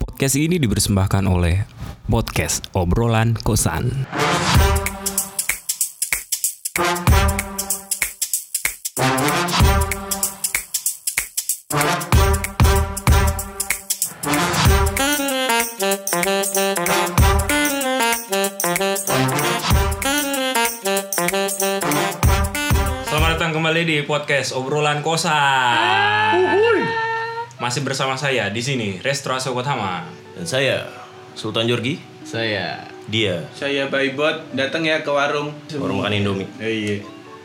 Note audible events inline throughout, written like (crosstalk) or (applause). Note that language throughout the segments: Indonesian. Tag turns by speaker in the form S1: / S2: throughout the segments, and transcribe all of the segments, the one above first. S1: Podcast ini dipersembahkan oleh Podcast Obrolan Kosan. Selamat datang kembali di podcast Obrolan Kosan. Masih bersama saya di sini Restora Sokotama.
S2: Dan saya Sultan Jorgi,
S3: Saya
S2: dia
S4: Saya by bot datang ya ke warung.
S2: baru makan Indomie.
S4: Eh, Iya.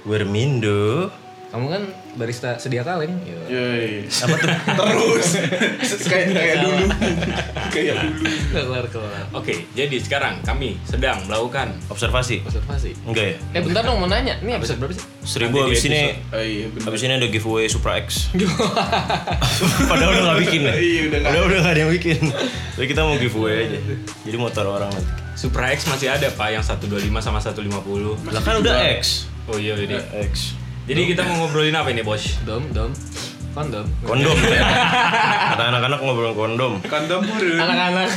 S2: Wermindo.
S3: Kamu kan barista sedia kaleng Yo. (laughs)
S4: Yoi. Apa tuh? (laughs) Terus. kayak kayak dulu. kayak dulu.
S3: Gak kelar-kelar
S1: Oke, jadi sekarang kami sedang melakukan
S2: Observasi.
S3: Observasi
S2: Enggak ya?
S3: Eh bentar dong mau nanya Ini episode berapa sih?
S2: Seribu
S1: Nanti di
S2: abis ini
S4: Oh iya benar.
S2: abis ini ada giveaway Supra X. Padahal udah nggak bikin ya.
S4: Iya, udah nggak.
S2: udah udah nggak ada yang bikin. Jadi kita mau giveaway aja. Jadi motor orang nanti.
S1: Supra X masih ada Pak yang 125 sama 150.
S2: Lah kan udah X.
S1: Oh iya ini.
S2: X.
S1: Jadi kita mau ngobrolin apa ini, Bos?
S3: Dom, dom Kondom
S2: Kondom. Kata anak-anak ngobrol kondom.
S4: Kondom burun.
S3: Anak-anak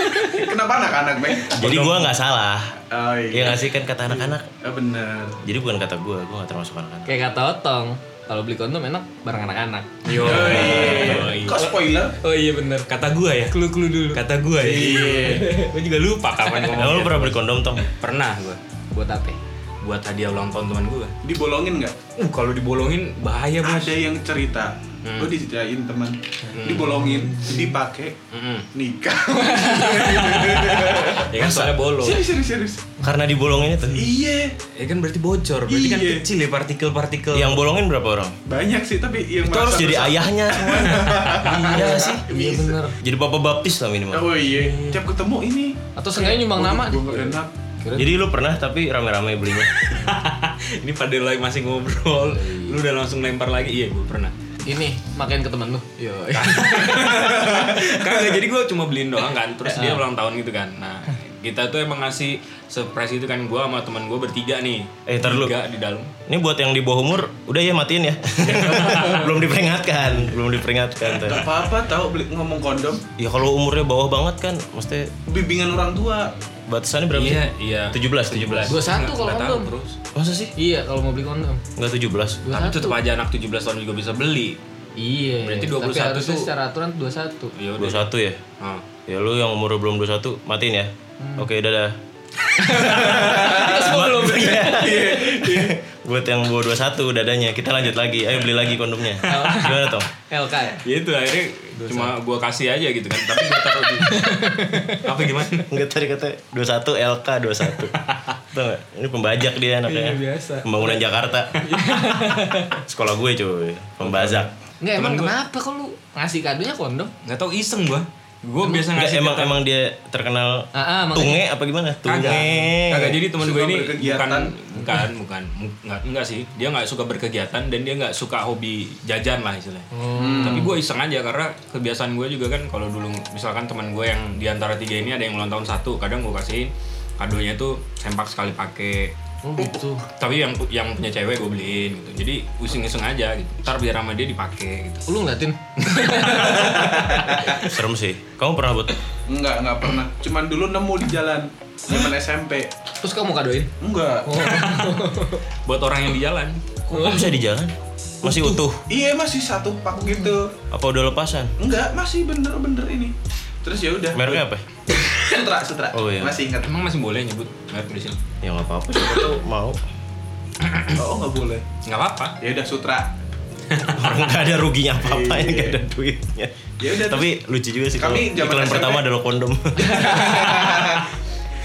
S3: (laughs)
S4: Kenapa anak-anak, Mek?
S2: Jadi gua nggak salah.
S4: Oh
S2: Iya
S4: iya.
S2: nggak sih kan kata anak-anak.
S4: Ah, benar.
S2: Jadi bukan kata gua, gua nggak termasuk anak-anak.
S3: Kayak kata Otong Kalau beli kondom enak bareng anak-anak
S1: Yo. iya.
S4: Yoi. Kok spoiler?
S1: Oh iya bener Kata gua ya? Klu-klu dulu Kata gua ya? (laughs)
S4: Iya.
S1: Gua juga lupa kapan
S2: Nah, lu
S1: ngomong
S2: pernah beli kondom tong?
S1: Pernah gua
S3: Buat apa?
S1: Buat hadiah ulang tahun teman gua
S4: Dibolongin nggak?
S1: Uh kalau dibolongin bahaya bos
S4: Ada yang cerita. Gue diceritain teman. Dibolongin, dipakai,
S1: Mm-mm.
S4: nikah.
S1: Ya kan soalnya bolong
S4: serius, serius, serius.
S2: Karena dibolongin itu.
S4: Iya,
S1: Ya kan berarti bocor Berarti kan
S4: Iya.
S1: kecil ya partikel-partikel
S2: Yang bolongin berapa orang?
S4: banyak sih tapi yang
S2: Itu harus
S4: merasa
S2: jadi
S1: (laughs)
S4: bersalah-
S2: ayahnya semuanya. Iya nggak sih?
S3: Iya bener
S2: Jadi bapak baptis lah minimal.
S4: Oh iya, tiap ketemu ini.
S3: Atau seenggaknya nyumbang nama
S4: Gue gak enak.
S2: Jadi lu pernah tapi rame-rame belinya.
S1: (laughs) Ini pada lagi masih ngobrol Lu udah langsung lempar lagi Iya gua pernah
S3: Ini makain ke temen lu Yo.
S1: (laughs) Kagak jadi gue cuma beliin doang kan Terus
S2: Iya.
S1: dia ulang tahun gitu kan Nah kita tuh emang ngasih surprise itu kan gua sama teman gua bertiga nih
S2: Eh, ntar lu.
S1: Tiga di dalam
S2: Ini buat yang di bawah umur, udah ya matiin (laughs) ya. belum diperingatkan, belum diperingatkan. Ter.
S4: Gak apa-apa tau beli- ngomong kondom.
S2: Ya kalau umurnya bawah banget kan, mesti
S4: Bimbingan orang tua.
S2: batasannya berapa
S1: Iya
S2: sih?
S1: iya
S2: 17, 17.
S3: Dua satu
S1: Nggak-
S3: kalau
S1: nggak tahu
S3: kondom
S1: terus
S2: Masa sih?
S3: (laughs) Iya kalau mau beli kondom
S2: Enggak 17.
S3: Dua
S1: Tapi
S3: satu.
S1: tetap aja anak 17 tahun juga bisa beli.
S3: Iya
S1: Berarti
S3: Tapi
S1: 21
S3: harusnya
S1: tuh-
S3: secara aturan 21
S1: Ya udah.
S2: 21 ya?
S1: Ah.
S2: Ya lu yang umur belum 21, matiin ya. Oke, dadah.
S3: Hmm.
S2: Iya, (laughs)
S3: Semua belum
S2: Buat yang bawah 21 dadanya, kita lanjut lagi. Ayo beli lagi kondomnya. Gimana, Tom?
S3: LK ya?
S1: Ya itu akhirnya cuma gua kasih aja gitu kan. Tapi gua taruh di
S2: (laughs)
S1: Apa gimana?
S2: Enggak tadi kata 21 LK 21. Tahu nggak? Ini pembajak dia anaknya.
S3: Iya, biasa.
S2: Pembangunan Jakarta. Sekolah gue cuy, pembajak.
S3: Enggak emang kenapa kok lu ngasih kadonya kondom?
S1: Nggak tahu iseng gua. Gua biasa
S2: Enggak
S1: ngasih
S2: emang
S1: ke-
S2: emang dia terkenal
S3: Ah, ah, makanya.
S2: tunge apa gimana? Tunge.
S1: kagak. Kagak jadi teman gua
S4: Suka
S1: ini
S4: berkegiatan.
S1: bukan bukan bukan Mu- nggak enggak sih. Dia nggak suka berkegiatan dan dia nggak suka hobi jajan lah istilahnya. Tapi gua iseng aja karena kebiasaan gua juga kan kalau dulu misalkan teman gua yang di antara tiga ini ada yang ulang tahun satu, kadang gua kasihin kadonya tuh sempak sekali pakai
S3: Oh gitu.
S1: tapi yang yang punya cewek gue beliin gitu jadi using using aja gitu ntar biar sama dia dipakai gitu
S3: Lu ngeliatin?
S2: Serem sih. Kamu pernah buat
S4: Enggak, enggak pernah. Cuman dulu nemu di jalan. Zaman SMP.
S3: Terus kamu kadoin?
S4: Enggak.
S1: buat orang yang di jalan
S2: kok bisa di jalan? Masih utuh.
S4: Iya masih satu pak gitu.
S2: Apa udah lepasan?
S4: Enggak, masih bener-bener ini. Terus ya udah.
S2: Mereknya apa?
S4: Sutra, sutra.
S2: Oh, iya.
S4: Masih ingat.
S1: emang masih boleh nyebut merek di sini
S2: Ya nggak apa-apa. Siapa tahu mau.
S4: Oh, enggak boleh.
S1: nggak apa-apa
S4: Ya udah
S2: (laughs)
S4: sutra.
S2: (laughs) Orang nggak ada ruginya apa-apa, ya,
S4: Iya.
S2: nggak ada duitnya.
S4: Ya udah,
S2: Tapi lucu juga sih.
S4: Kami
S2: kalau
S4: zaman
S2: iklan
S4: SMP.
S2: (laughs) pertama adalah kondom.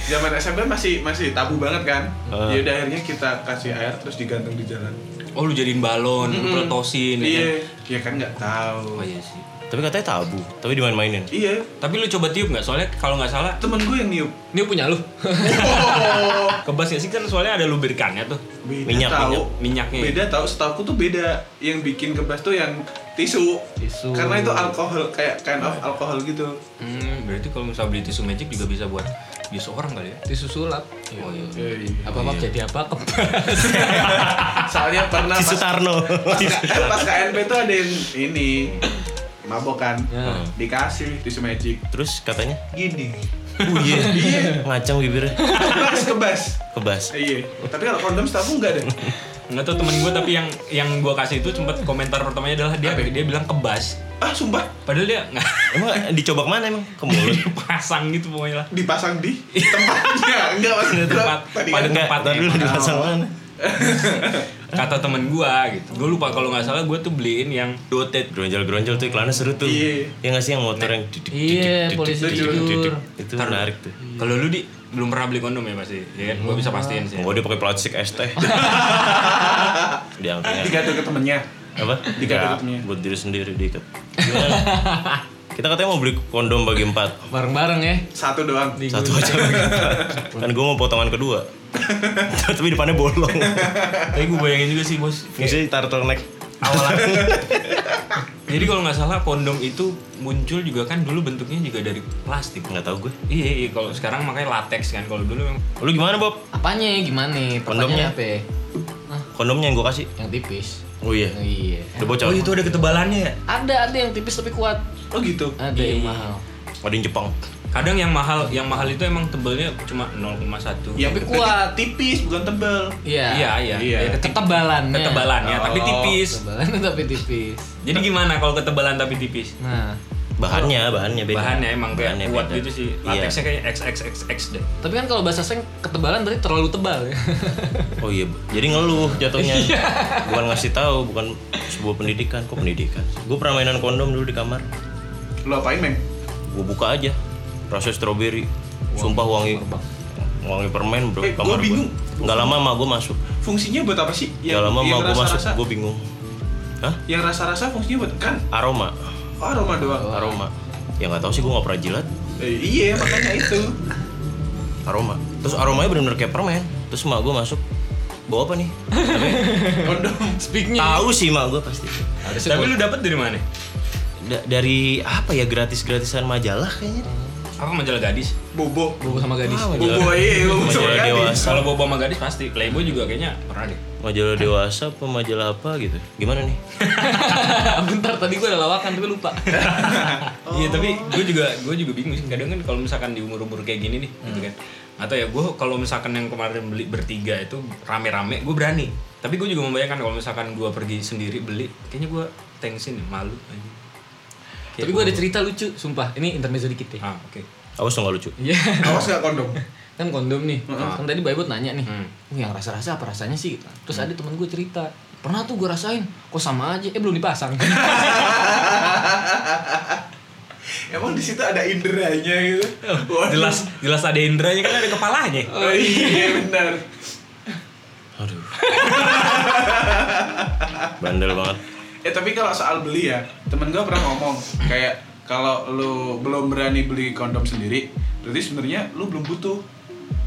S4: Zaman SMP masih masih tabu banget kan.
S2: Ah.
S4: Ya udah akhirnya kita kasih air terus digantung di jalan.
S1: oh lu jadiin balon lu peletosin ya kan?
S4: Iya, ya kan nggak
S1: oh
S4: tahu.
S1: iya sih
S2: tapi katanya tabu. Tapi dimain-mainin.
S4: Iya,
S1: tapi lu coba tiup nggak soalnya kalau nggak salah
S4: temen gue yang niup.
S3: Ini punya lu. (laughs)
S4: Oh,
S1: kebas nggak sih kan soalnya ada lubrikannya tuh
S4: (laughs) beda
S2: Minyak,
S4: tahu.
S1: minyak. Minyaknya ya?
S4: Beda tahu. Setahu tuh beda. Yang bikin kebas tuh yang tisu.
S3: Tisu.
S4: Karena itu alkohol kayak kind of alkohol gitu.
S1: hmm, berarti kalau misalnya beli tisu magic juga bisa buat bius orang kali ya
S3: Tisu sulap.
S1: oh iya
S3: Apa apa jadi apa
S4: Soalnya pernah
S2: (laughs) Tisu
S4: pas, (laughs)
S2: Tarno.
S4: pas, pas KNP tuh ada yang ini mabok kan
S3: Ya.
S4: dikasih tisu magic
S2: Terus katanya,
S4: gini
S2: "Oh iya, ngacang bibirnya."
S4: kebas kebas
S2: Kebas.
S4: iya tapi kalau kondom setahu enggak deh
S1: nggak tau temen gue tapi yang yang gue kasih itu sempet komentar pertamanya adalah dia
S4: Apa?
S1: dia bilang kebas
S4: ah sumpah
S1: padahal dia nggak (laughs)
S2: Emang dicoba kemana emang? Ke mulut. (laughs)
S1: pasang gitu pokoknya lah
S4: dipasang di tempatnya enggak maksud gua
S1: Tempat-
S4: tadi
S1: pada
S4: kan
S2: Enggak,
S1: tempatnya.
S2: tadi dulu dipasang mana?
S1: kata temen gue gitu gue lupa kalau nggak salah gue tuh beliin yang dotet
S2: Gronjol-gronjol tuh iklannya seru tuh.
S4: Iya.
S2: Yang ngasih yang motor yang didik,
S3: Iya,
S2: didik,
S3: polisi
S2: didik, didik,
S3: tidur.
S2: didik. Itu menarik tuh.
S1: kalau lu di belum pernah beli kondom ya pasti ya kan gue bisa pastiin sih
S2: Oh, dia pakai plastik es (laughs) teh. Diangkatnya.
S4: digatur ke temennya
S2: Apa?
S4: Diikat
S2: Enggak,
S4: tutupnya.
S2: buat diri sendiri diikat. Gimana? Kita katanya mau beli kondom bagi empat.
S3: Bareng-bareng ya.
S4: satu doang
S2: Satu aja bagi empat. Kan gue mau potongan kedua. (laughs) Tapi depannya bolong.
S1: tapi gue bayangin juga sih bos kayak
S2: Fungsi turtleneck.
S1: awalan (laughs) jadi kalau nggak salah kondom itu muncul juga kan dulu bentuknya juga dari plastik
S2: Enggak tahu gue.
S1: iya iya kalau sekarang makanya latex kan kalau dulu memang
S2: Lu gimana, Bob?
S3: Apanya ya, gimana?
S2: Kondomnya.
S3: Pertanyaannya apa? ya? Hah,
S2: Kondomnya yang gue kasih.
S3: yang tipis.
S2: Oh iya.
S3: Iya.
S2: Udah bocor.
S1: oh itu ada ketebalannya ya
S3: Ada ada yang tipis tapi kuat.
S4: oh gitu
S3: Ada yang mahal.
S2: Ada yang Jepang.
S1: kadang yang mahal yang mahal itu emang tebelnya cuma 0,1
S4: yang
S3: Tapi
S4: Ya, tapi
S3: kuat.
S4: tipis bukan tebel
S3: Iya.
S1: iya iya
S4: Iya.
S1: Ya, ketip-
S3: Ketebalannya.
S1: ketebalannya tapi
S4: Oh.
S1: tipis
S3: Ketebalannya (laughs) tapi tipis.
S1: jadi gimana kalau ketebalan tapi tipis
S3: Nah,
S2: Bahannya, bahannya beda.
S1: bahannya Oh. ya, emang kayak
S2: Bahannya
S1: kuat
S2: beda.
S1: gitu sih
S2: Iya.
S1: latexnya kayak XXXX deh
S3: tapi kan kalau bahasa slang ketebalan berarti terlalu tebal ya. (laughs)
S2: Oh iya, jadi ngeluh jatuhnya.
S1: Iya.
S2: bukan ngasih tahu, bukan sebuah pendidikan. Kok pendidikan? Gue pernah mainan kondom dulu di kamar.
S4: lo apain meng
S2: Gue buka aja. Rasa stroberi. Sumpah wangi. Wangi permen bro. di
S4: Eh,
S2: kamar
S4: gua bingung.
S2: Gak lama mah gue masuk.
S4: fungsinya buat apa sih
S2: Gak lama mah
S4: yang
S2: gue masuk.
S4: rasa-rasa
S2: Gue bingung. Hah?
S4: yang rasa-rasa fungsinya buat kan
S2: Aroma.
S4: oh, aroma doang
S2: Aroma. Ya nggak tahu sih gue nggak pernah jilat.
S4: Eh, iya makanya
S2: (laughs)
S4: itu
S2: Aroma. Terus aromanya bener-bener kayak permen. Terus mak gue masuk. Bawa apa nih?
S4: kondom
S3: Speaknya.
S2: tahu sih mak gue pasti.
S3: Harusnya
S1: tapi
S3: gua-
S1: lu dapet dari mana
S2: Da- dari apa ya gratis-gratisan majalah kayaknya deh.
S1: apa majalah gadis
S4: bobo
S3: bobo sama gadis.
S2: Ah,
S4: bobo iya bobo sama
S2: Majalah
S4: gadis
S2: dewasa.
S1: kalau bobo sama gadis pasti playboy juga kayaknya pernah deh
S2: Majalah dewasa apa majalah apa gitu. Gimana nih?
S3: (laughs) Bentar tadi gua ada lawakan tapi lupa.
S4: Oh.
S1: Iya tapi gue juga gue juga bingung sih kadang kan kalau misalkan di umur umur kayak gini nih gitu
S4: Hmm.
S1: kan atau ya gue kalau misalkan yang kemarin beli bertiga itu rame-rame gue berani tapi gue juga membayangkan kalau misalkan gue pergi sendiri beli kayaknya gue tensin deh, malu aja
S3: tapi gua ada cerita lucu, sumpah. Ini intermezzo dikit ya.
S1: ah oke
S2: Awas dong nggak lucu.
S3: Iya.
S4: awas gak kondom
S3: kan kondom nih kan tadi Baibot nanya nih
S1: Hmm.
S3: "Wih, yang rasa-rasa apa rasanya sih gitu. terus
S4: Hmm.
S3: ada temen gue cerita pernah tuh gue rasain kok sama aja eh belum dipasang
S4: (laughs) emang di situ ada inderanya gitu
S2: Oh,
S4: Waduh.
S1: jelas jelas ada indranya kan ada kepalanya
S4: oh, iya benar
S2: Aduh.
S4: Ah.
S2: Bandel banget.
S4: Eh tapi kalau soal beli ya, temen gue pernah ngomong kayak kalau lu belum berani beli kondom sendiri, berarti sebenarnya lu belum butuh.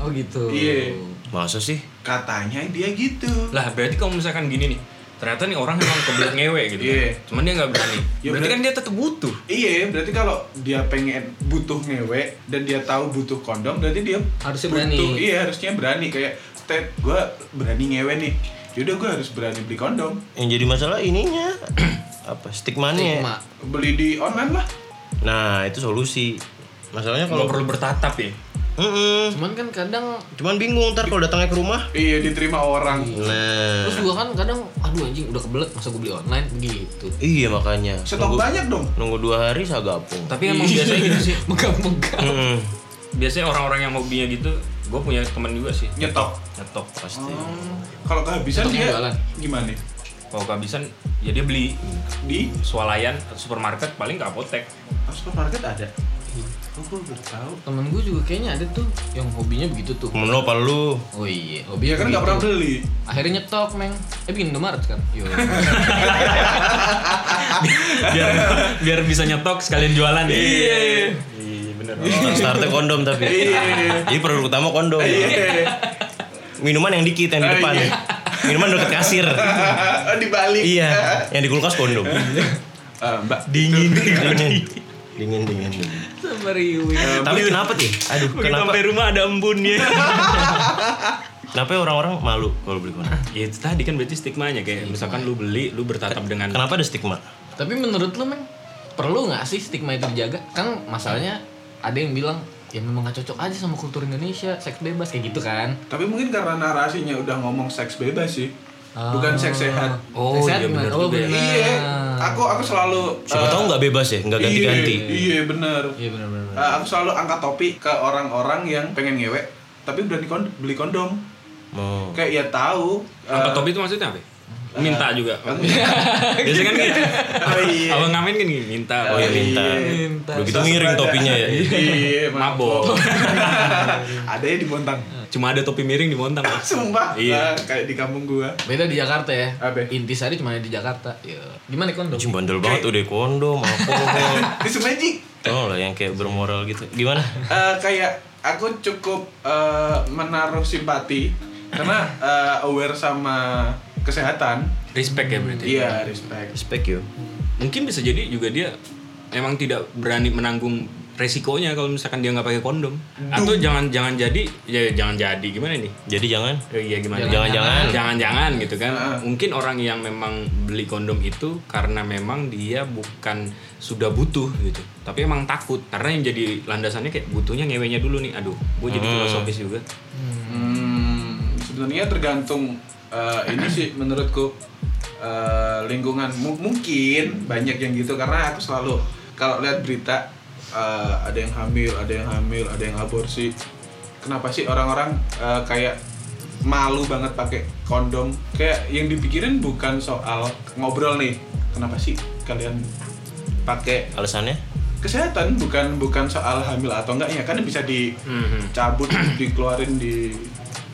S3: oh gitu
S4: Iya.
S2: Masa sih?
S4: Katanya dia gitu.
S1: lah berarti kalau misalkan gini nih ternyata nih orang emang kebelet ngewe gitu kan.
S4: Iya.
S1: cuman dia nggak berani
S4: Ya,
S1: berarti
S4: bener.
S1: kan dia tetap butuh
S4: Iya, berarti kalau dia pengen butuh ngewe dan dia tahu butuh kondom, berarti dia
S3: Harusnya
S4: butuh-
S3: berani.
S4: Iya, harusnya berani kayak Ted, gue berani ngewe nih. Yaudah gue harus berani beli kondom.
S2: Yang jadi masalah ininya (clears throat) apa? Stigmanya.
S3: Stigma.
S4: Beli di online lah.
S2: Nah, itu solusi. Masalahnya
S1: nggak
S2: kalau
S1: perlu bertatap ya
S2: Mm-mm.
S3: cuman kan kadang
S2: cuman bingung ntar kalau datangnya ke rumah.
S4: Iya, diterima orang.
S2: Nah.
S3: terus juga kan kadang aduh anjing udah kebelet masa gue beli online Gitu. (laughs) begitu
S2: Iya makanya. Nunggu,
S4: Stok banyak dong.
S2: nunggu dua hari sagapung.
S1: tapi emang
S4: Iya.
S1: biasanya gitu sih
S3: megah-megah
S4: Hmm.
S2: Mm-mm.
S1: biasanya orang-orang yang hobinya gitu gue punya teman juga sih
S4: Nyetok.
S1: nyetok
S2: Pasti.
S4: Hmm, Kalau kehabisan
S3: Stoknya
S4: dia
S3: jualan.
S4: gimana?
S1: kalau kehabisan ya dia beli
S4: Di
S1: swalayan atau supermarket paling ke apotek
S4: supermarket ada. Oh, gue baru tahu.
S3: temen gue juga kayaknya ada tuh yang hobinya begitu tuh
S2: Temen lo apa lu?
S3: oh iya
S4: Hmm. Iya
S3: hobinya
S4: kan
S3: begitu.
S4: nggak pernah beli.
S3: akhirnya nyetok meng eh bikin Indomaret kan
S4: (laughs)
S3: yo
S1: biar biar bisa nyetok sekalian jualan ya iya iya bener
S2: Start- Startnya kondom tapi. Jadi produk utama kondom. Minuman yang dikit yang di
S4: Oh,
S2: depan.
S4: iya.
S2: Minuman deket kasir.
S4: Ah, (laughs) dibalik.
S2: iya, yang di kulkas kondom.
S4: Ah, Mbak.
S2: dingin, dingin. Dingin, dingin.
S3: sama Riwi
S2: Tapi kenapa sih? Aduh, kenapa?
S1: rumah ada embunnya
S2: Kenapa ya orang-orang malu kalau beli kondom?
S1: ya itu tadi kan berarti stigmanya kayak misalkan lu beli lu bertatap dengan
S2: Kenapa ada stigma?
S3: tapi menurut lu meng perlu nggak sih stigma itu dijaga? Kan masalahnya ada yang bilang ya memang nggak cocok aja sama kultur Indonesia, seks bebas kayak gitu kan?
S4: Tapi mungkin karena narasinya udah ngomong seks bebas sih.
S3: Ah.
S4: Bukan seks sehat.
S1: Oh,
S3: Sehat
S1: iya
S3: gimana?
S1: benar
S3: oh,
S1: juga ya.
S3: benar.
S4: Iya, aku aku selalu
S2: Siapa
S4: eh,
S2: tahu nggak bebas ya, nggak
S4: iya,
S2: ganti-ganti.
S4: Iya, bener.
S3: Iya benar-benar.
S4: Eh, aku selalu angkat topik ke orang-orang yang pengen ngewek tapi udah dikon- beli kondom.
S2: Oh.
S4: Kayak ya tahu eh, kan?
S1: Apa topi itu maksudnya apa? Minta juga.
S2: Iya.
S1: Biasanya kan gitu.
S4: (laughs) Oh, iya.
S1: Abang ngamen kan gini, minta.
S2: Oh iya
S4: iya.
S2: minta.
S3: Minta.
S2: Udah gitu miring topinya ya.
S4: Iya,
S1: Mabok.
S4: Ada ya di Bontang.
S1: Cuma ada topi miring di Montang.
S4: Sumpah,
S1: Iya.
S4: Nah, kayak di kampung gua.
S3: Beda di Jakarta ya.
S4: Apa?
S3: Intisari cuma ada di Jakarta. Ya. Gimana kondom?
S2: Cuma bandel banget udah kondom, alkohol.
S4: Di Sumeji.
S2: Tau lah yang kayak bermoral gitu. Gimana?
S4: Eh, kayak aku cukup eh, menaruh simpati karena eh, aware sama kesehatan.
S1: Respect ya berarti.
S4: Iya, respect.
S2: Respect yo.
S1: Mungkin bisa jadi juga dia emang tidak berani menanggung resikonya kalau misalkan dia nggak pakai kondom. Atau jangan jangan jadi ya jangan jadi gimana nih?
S2: Jadi jangan
S1: Ya, iya gimana?
S2: Jangan-jangan.
S1: Jangan-jangan gitu kan.
S4: Heeh.
S1: Mungkin orang yang memang beli kondom itu karena memang dia bukan sudah butuh gitu. Tapi emang takut karena yang jadi landasannya kayak butuhnya ngewenya dulu nih. Aduh, gue jadi filosofis juga.
S4: Hmm, sebenarnya tergantung eh, ini sih menurutku eh, lingkungan Mu- mungkin banyak yang gitu karena aku selalu kalau lihat berita eh, ada yang hamil, ada yang hamil, ada yang aborsi. Kenapa sih orang-orang eh, kayak malu banget pakai kondom? Kayak yang dipikirin bukan soal ngobrol nih. Kenapa sih kalian pakai
S2: alasannya?
S4: kesehatan bukan bukan soal hamil atau enggaknya kan bisa di
S1: Mhm.
S4: cabut (clears throat) dikeluarin di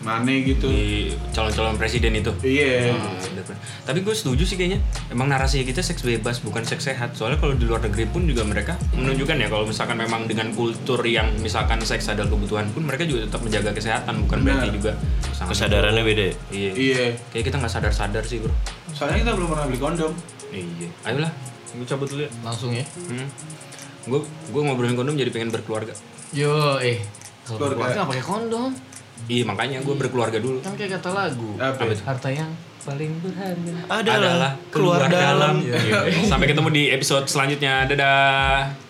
S4: mana gitu
S1: Di calon-calon presiden itu.
S4: iya
S1: Bener-bener. Tapi gue setuju sih kayaknya. Emang narasinya kita seks bebas bukan seks sehat. Soalnya kalau di luar negeri pun juga mereka menunjukkan ya kalau misalkan memang dengan kultur yang misalkan seks adalah kebutuhan pun mereka juga tetap menjaga kesehatan bukan berarti
S4: Benar.
S1: juga sangat-
S2: Kesadarannya beda. ya?
S1: Iya.
S4: iya
S1: Kayak kita nggak sadar-sadar sih bro.
S4: soalnya kita belum pernah beli kondom
S1: Iya. Ayolah, gue cabut dulu ya.
S3: Langsung ya.
S1: Hmm. Gue gue ngobrolin kondom jadi pengen berkeluarga.
S3: Yo, eh. Kalau
S4: Keluarga.
S3: keluarga nggak pakai kondom,
S1: Iya makanya gue berkeluarga dulu.
S3: kan kayak kata lagu.
S4: Apa itu?
S3: Harta yang paling berharga.
S1: Adalah keluar dalam. Iya. Sampai ketemu di episode selanjutnya. Dadah.